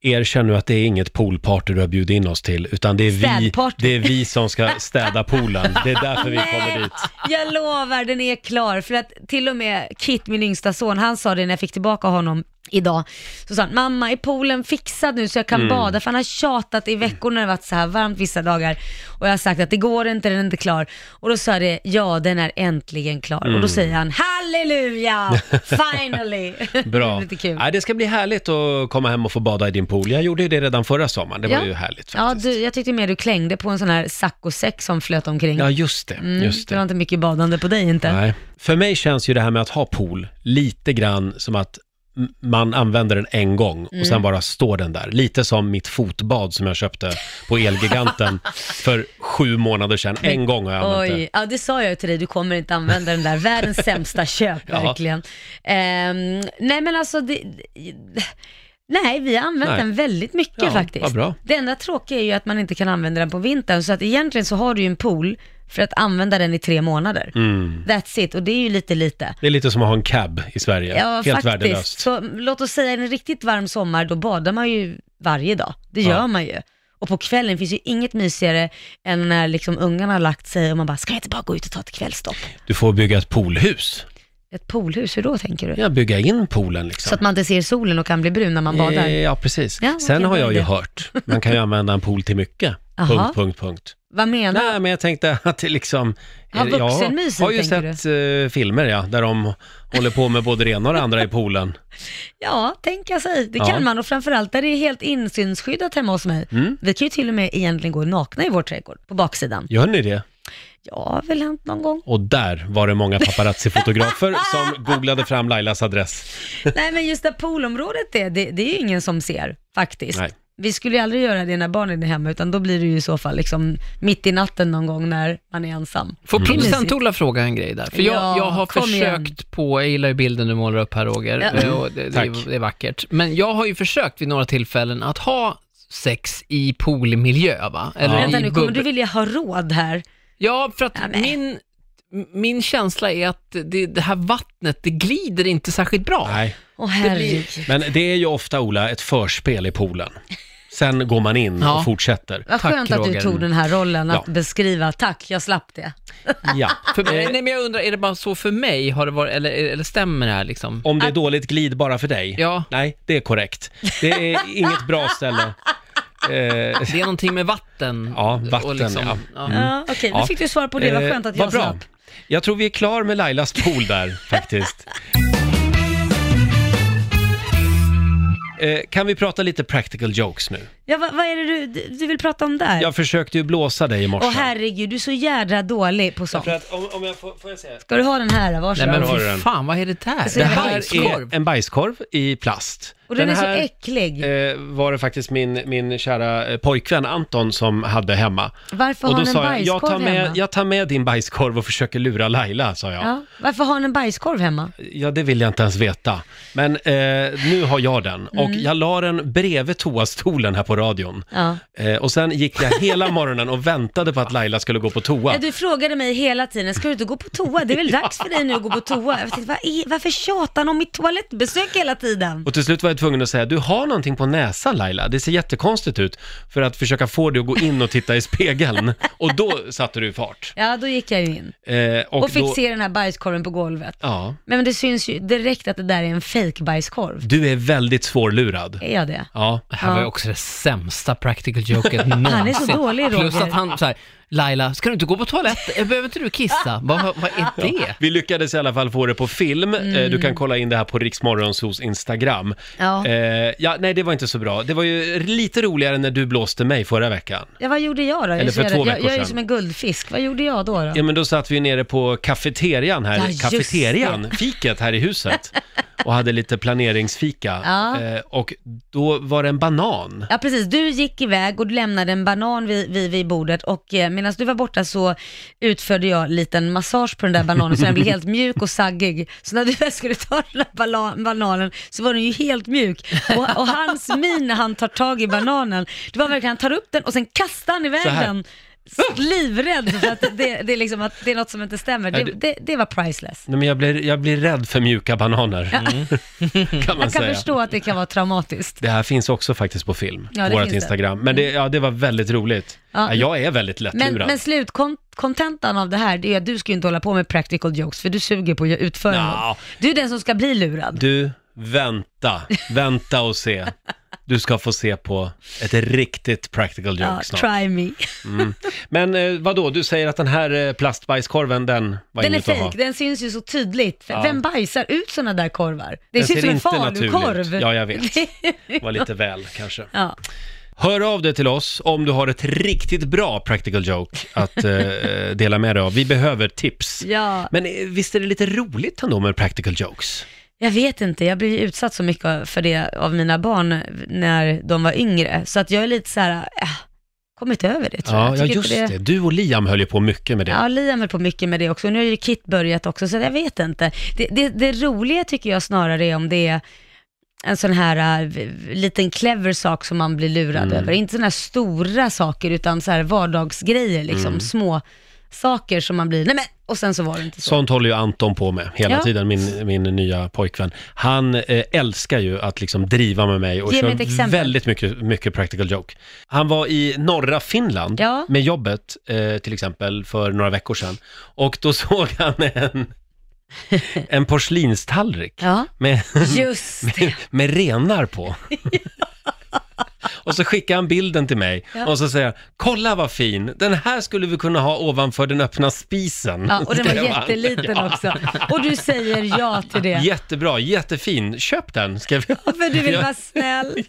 Speaker 2: Erkänn nu att det är inget poolparty du har bjudit in oss till, utan det är, vi,
Speaker 3: Städparty.
Speaker 2: det är vi som ska städa poolen. Det är därför vi kommer dit.
Speaker 3: Jag lovar, den är klar. För att till och med Kit, min yngsta son, han sa det när jag fick tillbaka honom idag. Så sa han, mamma är poolen fixad nu så jag
Speaker 2: Mm.
Speaker 3: kan bada? För han har tjatat i veckor när det varit så här varmt vissa dagar. Och jag har sagt att det går inte, den är inte klar. Och då sa det, ja den är äntligen klar. Och
Speaker 2: Mm.
Speaker 3: då säger han, halleluja, finally.
Speaker 2: Bra.
Speaker 3: Lite kul.
Speaker 2: Nej, det ska bli härligt att komma hem och få bada i din pool. Jag gjorde ju det redan förra sommaren. Det var
Speaker 3: Ja.
Speaker 2: ju härligt
Speaker 3: Ja,
Speaker 2: faktiskt.
Speaker 3: du, jag tyckte mer du klängde på en sån här saccosäck som flöt omkring.
Speaker 2: Ja, just det. Just
Speaker 3: Mm, det var
Speaker 2: det.
Speaker 3: inte mycket badande på dig inte.
Speaker 2: Nej. För mig känns ju det här med att ha pool lite grann som att m- man använder den en gång och
Speaker 3: Mm.
Speaker 2: sen bara står den där. Lite som mitt fotbad som jag köpte på Elgiganten för sju månader sedan. En gång har jag använt det.
Speaker 3: Oj, ja det sa jag ju till dig, du kommer inte använda den där, världens sämsta köp
Speaker 2: Ja.
Speaker 3: verkligen. Ehm, nej men alltså, det, nej vi har använt
Speaker 2: Nej.
Speaker 3: den väldigt mycket
Speaker 2: Ja,
Speaker 3: faktiskt.
Speaker 2: vad bra.
Speaker 3: Det enda tråkiga är ju att man inte kan använda den på vintern, så att egentligen så har du ju en pool för att använda den i tre månader.
Speaker 2: Mm.
Speaker 3: That's it, och det är ju lite lite.
Speaker 2: Det är lite som att ha en cab i Sverige.
Speaker 3: Ja,
Speaker 2: Helt
Speaker 3: faktiskt.
Speaker 2: värdelöst.
Speaker 3: Så låt oss säga en riktigt varm sommar, då badar man ju varje dag. Det
Speaker 2: Ja.
Speaker 3: gör man ju. Och på kvällen finns ju inget mysigare än när liksom ungarna har lagt sig och man bara, ska jag inte bara gå ut och ta ett kvällsdopp?
Speaker 2: Du får bygga ett poolhus.
Speaker 3: Ett poolhus, hur då tänker du?
Speaker 2: Ja, bygga in poolen liksom.
Speaker 3: Så att man inte ser solen och kan bli brun när man
Speaker 2: Eh,
Speaker 3: badar.
Speaker 2: Ja, precis.
Speaker 3: Ja,
Speaker 2: Sen
Speaker 3: okej,
Speaker 2: har
Speaker 3: bra
Speaker 2: jag ju
Speaker 3: idé.
Speaker 2: hört, man kan ju använda en pool till mycket.
Speaker 3: Aha.
Speaker 2: Punkt, punkt, punkt.
Speaker 3: Vad menar du?
Speaker 2: Nej, men jag tänkte att det liksom...
Speaker 3: Ja, vuxenmyset,
Speaker 2: jag har ju
Speaker 3: tänker
Speaker 2: sett eh, filmer, ja, där de håller på med både det ena och det andra i poolen.
Speaker 3: Ja, tänka sig. Det
Speaker 2: Ja.
Speaker 3: kan man och framförallt där det är helt insynsskyddat hemma hos mig.
Speaker 2: Mm.
Speaker 3: Vi kan ju till och med egentligen gå nakna i vår trädgård, på baksidan.
Speaker 2: Gör ni det?
Speaker 3: Ja, väl hänt någon gång.
Speaker 2: Och där var det många paparazzi-fotografer som googlade fram Lailas adress.
Speaker 3: Nej, men just där poolområdet är, det, det är ju ingen som ser faktiskt.
Speaker 2: Nej.
Speaker 3: Vi skulle ju aldrig göra det när barnen är hemma, utan då blir det ju i så fall liksom mitt i natten någon gång när man är ensam.
Speaker 2: Mm.
Speaker 4: Får
Speaker 3: Mysigt.
Speaker 4: producent-Ola fråga en grej där? För jag,
Speaker 3: Ja,
Speaker 4: jag har
Speaker 3: kom
Speaker 4: försökt
Speaker 3: igen.
Speaker 4: på, jag gillar ju bilden du målar upp här Roger,
Speaker 3: Ja.
Speaker 4: Eh, och det, det,
Speaker 2: Mm. Tack.
Speaker 4: är, det är vackert. Men jag har ju försökt vid några tillfällen att ha sex i poolmiljö va? Eller
Speaker 2: Ja.
Speaker 3: Vänta
Speaker 4: i
Speaker 3: nu, kommer
Speaker 4: bubbel.
Speaker 3: du vilja ha råd här?
Speaker 4: Ja, för att
Speaker 3: Ja, men.
Speaker 4: min, min känsla är att det, det här vattnet, det glider inte särskilt bra.
Speaker 2: Nej,
Speaker 3: Åh
Speaker 4: blir-
Speaker 3: herregud.
Speaker 2: men det är ju ofta, Ola, ett förspel i poolen. Sen går man in
Speaker 4: Ja.
Speaker 2: och fortsätter.
Speaker 3: Vad
Speaker 4: Tack,
Speaker 3: skönt att du
Speaker 4: Roger.
Speaker 3: tog den här rollen, att
Speaker 2: Ja. Mm.
Speaker 3: beskriva. Tack, jag slapp det.
Speaker 2: Ja.
Speaker 4: För, nej, men jag undrar, är det bara så för mig? Har det varit, eller, eller stämmer det här liksom?
Speaker 2: Om det är dåligt glid bara för dig?
Speaker 4: Ja.
Speaker 2: Nej, det är korrekt. Det är inget bra ställe. Eh,
Speaker 4: Det är någonting med vatten.
Speaker 2: Ja,
Speaker 4: och liksom,
Speaker 2: vatten, ja. Mm.
Speaker 3: Ja, Okej, nu
Speaker 2: Ja.
Speaker 3: fick du svar på det. Vad skönt att
Speaker 2: Eh,
Speaker 3: jag
Speaker 2: vad
Speaker 3: slapp.
Speaker 2: Jag tror vi är klar med Lailas pool där faktiskt. Eh, Kan vi prata lite practical jokes nu?
Speaker 3: Ja, vad, vad är det du, du vill prata om där?
Speaker 2: Jag försökte ju blåsa dig i morse.
Speaker 3: Åh herregud, du är så jädra dålig på sånt.
Speaker 2: För att, om, om jag får, får jag säga?
Speaker 3: Ska du ha den här? då? Varsågod.
Speaker 4: Nej men
Speaker 2: Där har du den.
Speaker 4: fy fan, vad är det där?
Speaker 3: ser
Speaker 4: Det
Speaker 2: Det
Speaker 3: en
Speaker 2: här
Speaker 4: bajskorv.
Speaker 2: är en bajskorv i plast.
Speaker 3: Och den, är
Speaker 2: här-
Speaker 3: så äcklig.
Speaker 2: eh, var det faktiskt min, min kära eh, pojkvän Anton som hade hemma.
Speaker 3: Varför
Speaker 2: och
Speaker 3: har
Speaker 2: då
Speaker 3: han en
Speaker 2: sa jag, jag tar,
Speaker 3: bajskorv
Speaker 2: med,
Speaker 3: hemma?
Speaker 2: jag tar med din bajskorv och försöker lura Laila, sa jag. Ja,
Speaker 3: Ja, varför har han en bajskorv hemma?
Speaker 2: det vill jag inte ens veta. Men eh, nu har jag den och
Speaker 3: Mm.
Speaker 2: jag la den bredvid toastolen här på radion.
Speaker 3: Ja.
Speaker 2: Eh, och sen gick jag hela morgonen och väntade på att Laila skulle gå på toa.
Speaker 3: Ja, du frågade mig hela tiden, ska du inte gå på toa? Det är väl dags för dig nu att gå på toa? Jag tänkte, vad är, varför tjatar han om mitt toalettbesök hela tiden?
Speaker 2: Och till slut var jag tvungen att säga, du har någonting på näsan Laila, det ser jättekonstigt ut, för att försöka få dig att gå in och titta i spegeln. Och då satte du fart.
Speaker 3: Ja, då gick jag ju in
Speaker 2: Eh, och
Speaker 3: och fick
Speaker 2: då,
Speaker 3: se den här bajskorven på golvet.
Speaker 2: Ja,
Speaker 3: Men det syns ju direkt att det där är en fake bajskorv
Speaker 2: du är väldigt svårlurad.
Speaker 3: Är jag det?
Speaker 2: Ja.
Speaker 4: Det här var ju
Speaker 3: Ja.
Speaker 4: också det sämsta practical joken någonsin.
Speaker 3: Han är så dålig,
Speaker 4: Plus
Speaker 3: Roger.
Speaker 4: att han så här, Laila, ska du inte gå på toaletten? Behöver inte du kissa? Vad, vad är det?
Speaker 2: Vi lyckades i alla fall få det på film. Eh, Du kan kolla in det här på Riksmorgonsos Instagram.
Speaker 3: Mm. Ja.
Speaker 2: Eh, ja, nej, det var inte så bra. Det var ju lite roligare när du blåste mig förra veckan.
Speaker 3: Ja, vad gjorde jag då? Jag är
Speaker 2: Eller
Speaker 3: så
Speaker 2: för två
Speaker 3: jävla- jag,
Speaker 2: veckor
Speaker 3: jag är ju
Speaker 2: sedan.
Speaker 3: som en guldfisk. Vad gjorde jag då? då?
Speaker 2: Ja, men då satt vi nere på kafeterian här,
Speaker 3: Ja, just
Speaker 2: kafeterian, fiket här i huset och hade lite planeringsfika.
Speaker 3: Ja.
Speaker 2: Eh, och då var det en banan.
Speaker 3: Ja precis, du gick iväg och du lämnade en banan vid, vid, vid bordet och eh, medan du var borta så utförde jag en liten massage på den där bananen så den blev helt mjuk och saggig. Så när du väl skulle ta den där bala- bananen så var den ju helt mjuk. Och, och hans min när han tar tag i bananen, det var verkligen, han tar upp den och sen kastar han iväg
Speaker 2: Så här.
Speaker 3: den. S- Livrädd för att det, det, är liksom att det är något som inte stämmer. Det,
Speaker 2: Ja,
Speaker 3: det, det var priceless.
Speaker 2: Nej, men jag blir, jag blir rädd för mjuka bananer, kan man
Speaker 3: Jag kan
Speaker 2: säga.
Speaker 3: förstå att det kan vara traumatiskt.
Speaker 2: Det här finns också faktiskt på film,
Speaker 3: Ja, det
Speaker 2: på vårt
Speaker 3: finns det. Mm.
Speaker 2: Instagram. Men det, ja, det var väldigt roligt. Ja,
Speaker 3: Ja,
Speaker 2: jag är väldigt lättlurad.
Speaker 3: Men, men slutkontentan av det här, det är att du ska ju inte hålla på med practical jokes, för du suger på att utföra
Speaker 2: Nja.
Speaker 3: dem. Du är den som ska bli lurad.
Speaker 2: Du, vänta, vänta och se. Du ska få se på ett riktigt practical joke
Speaker 3: Ja,
Speaker 2: snart.
Speaker 3: try me.
Speaker 2: Men eh, vadå, du säger att den här eh, plastbajskorven, den var
Speaker 3: Den är
Speaker 2: inget att ha.
Speaker 3: fejk, den syns ju så tydligt.
Speaker 2: Ja.
Speaker 3: Vem bajsar ut sådana där korvar? Det
Speaker 2: Den
Speaker 3: ser ut
Speaker 2: ser
Speaker 3: som en
Speaker 2: inte naturlig
Speaker 3: falukorv.
Speaker 2: ut. Ja, jag vet. Var lite väl kanske.
Speaker 3: ja.
Speaker 2: Hör av dig till oss om du har ett riktigt bra practical joke att eh, eh, dela med dig av. Vi behöver tips.
Speaker 3: ja,
Speaker 2: Men eh, visst är det lite roligt ändå med practical jokes?
Speaker 3: jag vet inte, jag blir ju utsatt så mycket för det av mina barn när de var yngre, så att jag är lite så här, äh, kommit över det tror jag.
Speaker 2: Ja,
Speaker 3: jag.
Speaker 2: ja
Speaker 3: tycker
Speaker 2: just
Speaker 3: inte
Speaker 2: det. Du och Liam höll ju på mycket med det.
Speaker 3: Ja, Liam höll på mycket med det också. Och nu har ju Kit börjat också, så jag vet inte. Det, det, det roliga tycker jag snarare är om det är en sån här äh, v- v- liten clever sak som man blir lurad över. Inte såna här stora saker, utan så här vardagsgrejer, liksom små saker som man blir, nej men, och sen så var det inte så.
Speaker 2: Sånt håller ju Anton på med hela
Speaker 3: Ja.
Speaker 2: tiden, min, min nya pojkvän. Han eh, älskar ju att liksom driva med mig och
Speaker 3: Ge mig ett
Speaker 2: kör
Speaker 3: exempel.
Speaker 2: väldigt mycket, mycket practical joke. Han var i norra Finland
Speaker 3: Ja.
Speaker 2: med jobbet, eh, till exempel, för några veckor sedan. Och då såg han en, en porslinstallrik
Speaker 3: Ja,
Speaker 2: med,
Speaker 3: just
Speaker 2: med, med renar på. Och så skickar han bilden till mig
Speaker 3: Ja.
Speaker 2: och så säger han, kolla vad fin, den här skulle vi kunna ha ovanför den öppna spisen.
Speaker 3: Ja, och den var
Speaker 2: skrev han.
Speaker 3: jätteliten också. Och du säger ja till det.
Speaker 2: Jättebra, jättefin. Köp den, ska vi
Speaker 3: För du vill vara snäll.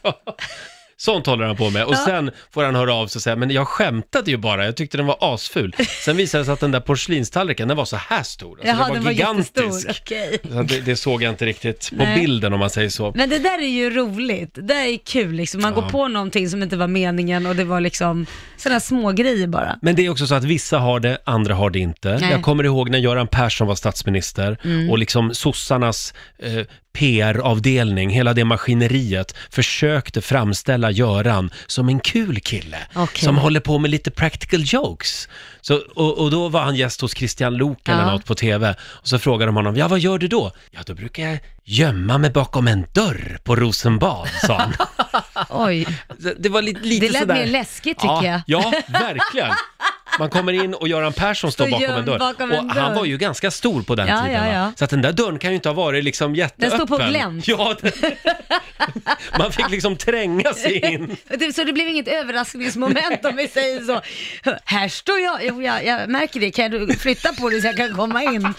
Speaker 2: Sånt håller han på med. Och sen får han höra av sig och säga, men jag skämtade ju bara, jag tyckte den var asful. Sen visade det sig att den där porslinstallriken, den var så här stor. Alltså,
Speaker 3: Jaha,
Speaker 2: den var
Speaker 3: den var
Speaker 2: gigantisk.
Speaker 3: jättestor. Okej.
Speaker 2: Så det, det såg jag inte riktigt på
Speaker 3: Nej.
Speaker 2: bilden om man säger så.
Speaker 3: Men det där är ju roligt. Det där är kul liksom. Man går på någonting som inte var meningen och det var liksom sådana små grejer bara.
Speaker 2: Men det är också så att vissa har det, andra har det inte.
Speaker 3: Nej. Mm.
Speaker 2: Jag kommer ihåg när Göran Persson var statsminister och liksom sossarnas eh, PR-avdelning, hela det maskineriet, försökte framställa Göran som en kul kille
Speaker 3: Okej.
Speaker 2: som håller på med lite practical jokes. Så, och, och då var han gäst hos Christian Lok eller
Speaker 3: Ja.
Speaker 2: något på TV och så frågade de honom, ja vad gör du då? Ja då brukar jag gömma mig bakom en dörr på Rosenbad, sa han.
Speaker 3: Oj,
Speaker 2: Så Det var lite, lite
Speaker 3: det lät
Speaker 2: sådär.
Speaker 3: mer läskigt
Speaker 2: ja,
Speaker 3: tycker jag.
Speaker 2: Ja, verkligen. Man kommer in och Göran Persson står
Speaker 3: Står
Speaker 2: bakom
Speaker 3: gömd
Speaker 2: en dörr.
Speaker 3: bakom
Speaker 2: och
Speaker 3: en
Speaker 2: han
Speaker 3: dörr.
Speaker 2: var ju ganska stor på den
Speaker 3: Ja,
Speaker 2: tiden.
Speaker 3: ja,
Speaker 2: va?
Speaker 3: ja.
Speaker 2: Så att den där dörren kan ju inte ha varit liksom jätteöppen.
Speaker 3: står på glänt.
Speaker 2: Ja, den... Man fick liksom tränga sig in.
Speaker 3: Det- Så det blev inget överraskningsmoment om vi säger så. Här står jag, jo jag, jag märker det, kan du flytta på dig så jag kan komma in?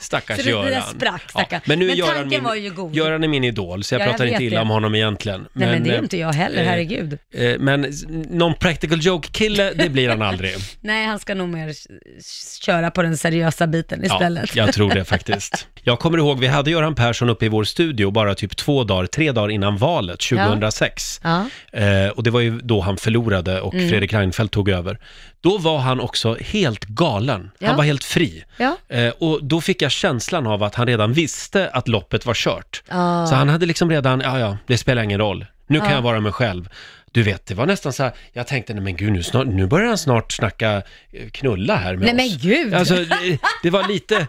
Speaker 2: Stackars
Speaker 3: Så det- det där
Speaker 2: Göran.
Speaker 3: sprack, stackarn.
Speaker 2: Men, nu är
Speaker 3: Men
Speaker 2: Göran
Speaker 3: tanken
Speaker 2: min,
Speaker 3: var ju god.
Speaker 2: Göran är min idol, så jag
Speaker 3: Ja, jag
Speaker 2: pratar inte
Speaker 3: vet
Speaker 2: illa
Speaker 3: det.
Speaker 2: om honom egentligen.
Speaker 3: Nej men det är
Speaker 2: eh,
Speaker 3: ju inte jag heller,
Speaker 2: eh,
Speaker 3: herregud.
Speaker 2: eh, Men s- någon practical joke-kille, det blir han aldrig.
Speaker 3: Nej, han ska nog mer s- s- köra på den seriösa biten istället.
Speaker 2: Ja, jag tror det faktiskt. Jag kommer ihåg, vi hade Göran Persson uppe i vår studio bara typ två dagar, tre dagar innan valet 2006.
Speaker 3: Ja.
Speaker 2: Eh, och det var ju då han förlorade och
Speaker 3: Mm.
Speaker 2: Fredrik Reinfeldt tog över. Då var han också helt galen.
Speaker 3: Ja.
Speaker 2: Han var helt fri.
Speaker 3: Ja.
Speaker 2: Eh, och då fick jag känslan av att han redan visste att loppet var kört.
Speaker 3: Ah.
Speaker 2: Så han hade liksom redan, ja ja, det spelar ingen roll. Nu kan
Speaker 3: Ja.
Speaker 2: jag vara mig själv. Du vet, det var nästan så här, jag tänkte, nej men gud, nu, snart, nu börjar han snart snacka eh, knulla här med
Speaker 3: Nej,
Speaker 2: oss.
Speaker 3: men gud!
Speaker 2: Alltså, det, det var lite...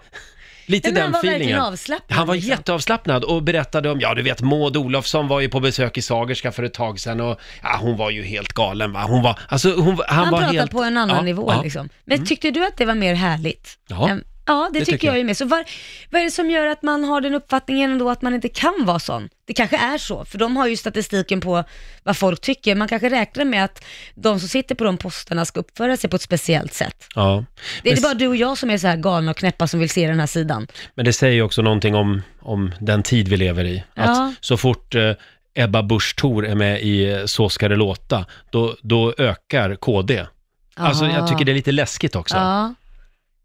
Speaker 2: Lite
Speaker 3: Nej, men
Speaker 2: den
Speaker 3: han var verkligen
Speaker 2: feelingen.
Speaker 3: avslappnad,
Speaker 2: Han var
Speaker 3: liksom.
Speaker 2: jätteavslappnad och berättade om, ja du vet Maud Olofsson var ju på besök i Sagerska för ett tag sedan och ja, hon var ju helt galen va. Hon var, alltså hon, han,
Speaker 3: Han
Speaker 2: var
Speaker 3: pratar
Speaker 2: helt...
Speaker 3: på en annan
Speaker 2: ja,
Speaker 3: nivå
Speaker 2: ja.
Speaker 3: liksom. Men tyckte du att det var mer härligt?
Speaker 2: Ja.
Speaker 3: Än- Ja, det,
Speaker 2: Det
Speaker 3: tycker,
Speaker 2: tycker
Speaker 3: jag
Speaker 2: jag.
Speaker 3: ju med. Så var, vad är det som gör att man har den uppfattningen ändå att man inte kan vara sån? Det kanske är så, för de har ju statistiken på vad folk tycker. Man kanske räknar med att de som sitter på de posterna ska uppföra sig på ett speciellt sätt.
Speaker 2: Ja.
Speaker 3: Det är
Speaker 2: Men-
Speaker 3: inte bara du och jag som är så här galna och knäppa som vill se den här sidan.
Speaker 2: Men det säger ju också någonting om, om den tid vi lever i. Att
Speaker 3: Ja.
Speaker 2: så fort eh, Ebba Busch Thor är med i eh, Så ska det låta, då, då ökar KD. Alltså jag tycker det är lite läskigt också.
Speaker 3: Ja.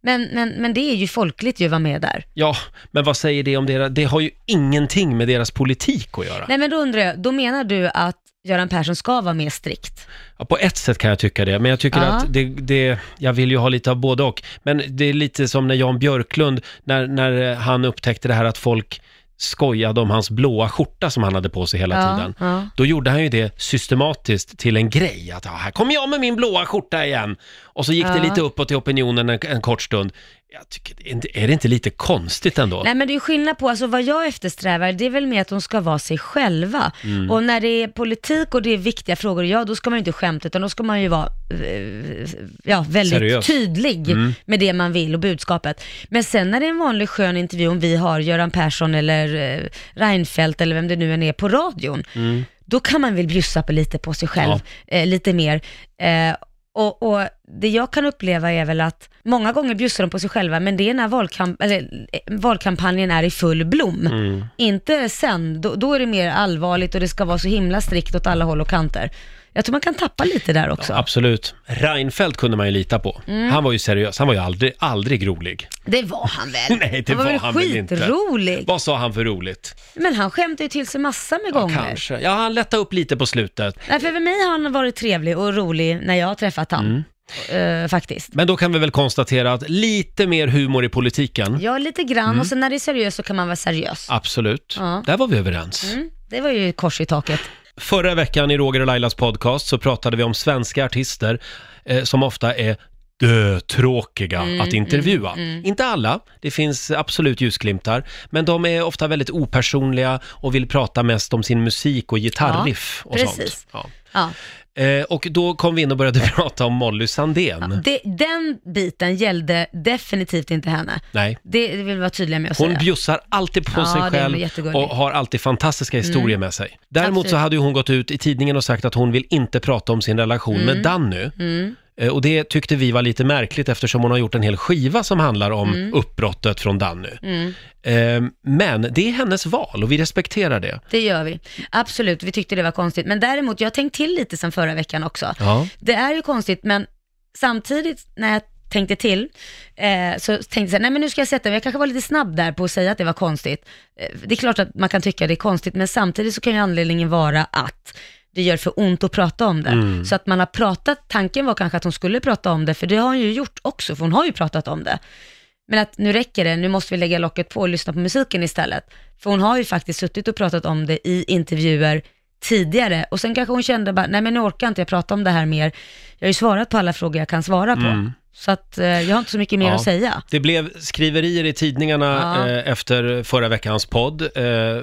Speaker 3: Men, men, men det är ju folkligt ju att vara med där.
Speaker 2: Ja, men vad säger det om deras... Det har ju ingenting med deras politik att göra.
Speaker 3: Nej men då undrar jag, då menar du att Göran Persson ska vara mer strikt?
Speaker 2: Ja, på ett sätt kan jag tycka det, men jag tycker
Speaker 3: Ja.
Speaker 2: att det, det... Jag vill ju ha lite av både och. Men det är lite som när Jan Björklund, när, när eh, han upptäckte det här att folk skojade om hans blåa skjorta som han hade på sig hela
Speaker 3: Ja,
Speaker 2: tiden.
Speaker 3: ja.
Speaker 2: Då gjorde han ju det systematiskt till en grej, att "Ah, här kommer jag med min blåa skjorta igen. Och så gick det
Speaker 3: Ja.
Speaker 2: lite uppåt i opinionen en, en kort stund. Jag tycker, inte- är det inte lite konstigt ändå?
Speaker 3: Nej men det är ju skillnad på, alltså vad jag eftersträvar, det är väl mer att de ska vara sig själva. Och när det är politik och det är viktiga frågor, ja då ska man ju inte skämta utan då ska man ju vara eh, ja, väldigt
Speaker 2: Seriös.
Speaker 3: tydlig med det man vill och budskapet. Men sen när det är en vanlig skön intervju, om vi har Göran Persson eller eh, Reinfeldt eller vem det nu än är på radion, då kan man väl bjussa på lite på sig själv, eh, lite mer. Eh, och, och det jag kan uppleva är väl att många gånger bjussar de på sig själva, men det är när valkamp eller, eh, valkampanjen är i full blom.
Speaker 2: Mm.
Speaker 3: Inte sen, då, då är det mer allvarligt och det ska vara så himla strikt åt alla håll och kanter. Jag tror man kan tappa lite där också.
Speaker 2: Absolut. Reinfeldt kunde man ju lita på.
Speaker 3: Mm.
Speaker 2: Han var ju seriös, han var ju aldrig, aldrig rolig.
Speaker 3: Det var han väl?
Speaker 2: Nej, det
Speaker 3: han var,
Speaker 2: var
Speaker 3: väl
Speaker 2: han väl inte.
Speaker 3: skitrolig?
Speaker 2: Vad sa han för roligt?
Speaker 3: Men han skämtade ju till sig massor med gånger.
Speaker 2: Kanske. Ja, han lättade upp lite på slutet.
Speaker 3: Nej, för, för mig har han varit trevlig och rolig när jag har träffat han.
Speaker 2: Mm.
Speaker 3: Eh, faktiskt.
Speaker 2: Men då kan vi väl konstatera att lite mer humor i politiken.
Speaker 3: Ja, lite grann
Speaker 2: Mm.
Speaker 3: och sen när det är seriöst så kan man vara seriös.
Speaker 2: Absolut.
Speaker 3: Ja.
Speaker 2: Där var vi överens.
Speaker 3: Mm, det var ju kors i taket.
Speaker 2: Förra veckan i Roger och Lailas podcast så pratade vi om svenska artister eh, som ofta är dötråkiga
Speaker 3: Mm,
Speaker 2: att intervjua. Inte alla, det finns absolut ljusglimtar, men de är ofta väldigt opersonliga och vill prata mest om sin musik och gitarriff och
Speaker 3: precis.
Speaker 2: sånt. Ja.
Speaker 3: Ja.
Speaker 2: Eh, och då kom vi in och började prata om Molly Sandén.
Speaker 3: Det, den biten gällde definitivt inte henne.
Speaker 2: Nej.
Speaker 3: Det vill vi vara tydliga med att
Speaker 2: Hon
Speaker 3: säga.
Speaker 2: bjussar alltid på
Speaker 3: Ja, det
Speaker 2: sig
Speaker 3: är
Speaker 2: själv
Speaker 3: jättegulligt. Mm.
Speaker 2: och har alltid fantastiska historier med sig. Däremot så
Speaker 3: Absolut.
Speaker 2: hade ju hon gått ut i tidningen och sagt att hon vill inte prata om sin relation
Speaker 3: Mm.
Speaker 2: med Danny. Eh, Och det tyckte vi var lite märkligt eftersom hon har gjort en hel skiva som handlar om
Speaker 3: Mm.
Speaker 2: uppbrottet från Danny. Eh, Men det är hennes val och vi respekterar det.
Speaker 3: Det gör vi. Absolut, vi tyckte det var konstigt. Men däremot, jag har tänkt till lite sen förra veckan också.
Speaker 2: Ja.
Speaker 3: Det är ju konstigt, men samtidigt när jag tänkte till, eh, så tänkte jag så här, nej men nu ska jag sätta mig, jag kanske var lite snabb där på att säga att det var konstigt. Eh, det är klart att man kan tycka det är konstigt, men samtidigt så kan ju anledningen vara att det gör för ont att prata om det. Så att man har pratat, tanken var kanske att hon skulle prata om det, för det har hon ju gjort också, för hon har ju pratat om det. Men att nu räcker det, nu måste vi lägga locket på och lyssna på musiken istället. För hon har ju faktiskt suttit och pratat om det i intervjuer tidigare och sen kanske hon kände bara, nej men nu orkar inte jag prata om det här mer. Jag har ju svarat på alla frågor jag kan svara på. Så att eh, jag har inte så mycket mer
Speaker 2: Mm. Ja.
Speaker 3: att säga.
Speaker 2: Det blev skriverier i tidningarna
Speaker 3: Ja.
Speaker 2: eh, efter förra veckans podd. Eh,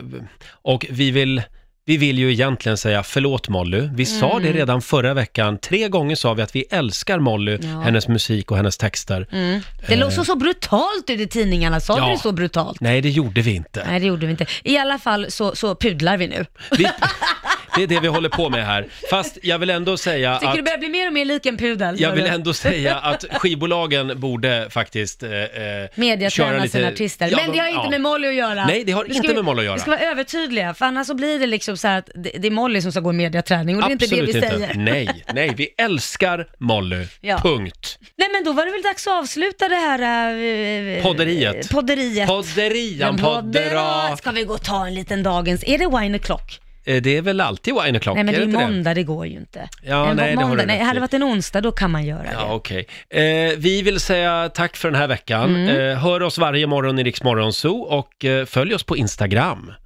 Speaker 2: och vi vill, vi vill ju egentligen säga förlåt Molly. Vi
Speaker 3: Mm.
Speaker 2: sa det redan förra veckan. Tre gånger sa vi att vi älskar Molly,
Speaker 3: Ja. Mm.
Speaker 2: hennes musik och hennes texter.
Speaker 3: Det låg så, så brutalt ut i tidningarna, sa
Speaker 2: Eh. Ja.
Speaker 3: du det så brutalt?
Speaker 2: Nej, det gjorde vi inte.
Speaker 3: Nej det gjorde vi inte. I alla fall så, så pudlar vi nu.
Speaker 2: Vi, det är det vi håller på med här. Fast jag vill ändå säga
Speaker 3: Tycker
Speaker 2: att...
Speaker 3: du börjar bli mer och mer lik en pudel?
Speaker 2: Jag vill
Speaker 3: Hörru.
Speaker 2: ändå säga att skivbolagen borde faktiskt eh, eh,
Speaker 3: mediaträna
Speaker 2: köra
Speaker 3: sina artister.
Speaker 2: Ja,
Speaker 3: men
Speaker 2: de-
Speaker 3: det har inte
Speaker 2: ja.
Speaker 3: med Molly att göra.
Speaker 2: Nej, det har
Speaker 3: Nu
Speaker 2: inte
Speaker 3: ska
Speaker 2: med Molly att göra.
Speaker 3: Vi ska vara övertydliga, för annars så blir det liksom så här att det, det är Molly som ska gå i mediaträning och det är inte det vi säger.
Speaker 2: Nej, nej, vi älskar Molly.
Speaker 3: Ja.
Speaker 2: Punkt.
Speaker 3: Nej men då var det väl dags att avsluta det här... eh, eh,
Speaker 2: Podderiet.
Speaker 3: Podderiet.
Speaker 2: Podderian
Speaker 3: Men
Speaker 2: poddera.
Speaker 3: poddera. Ska vi gå och ta en liten dagens... Är det wine o'clock?
Speaker 2: Eh, Det är väl alltid wine o'clock?
Speaker 3: Nej men det är
Speaker 2: inte
Speaker 3: måndag, det går ju inte.
Speaker 2: Ja,
Speaker 3: en
Speaker 2: nej, det har
Speaker 3: måndag,
Speaker 2: du
Speaker 3: nej,
Speaker 2: rätt
Speaker 3: hade
Speaker 2: i.
Speaker 3: det varit en onsdag då kan man göra
Speaker 2: Ja,
Speaker 3: det.
Speaker 2: okej. Eh, vi vill säga tack
Speaker 3: Mm.
Speaker 2: för den här veckan. Eh, hör oss varje morgon i Riksmorgon Zoo och eh, följ oss på Instagram.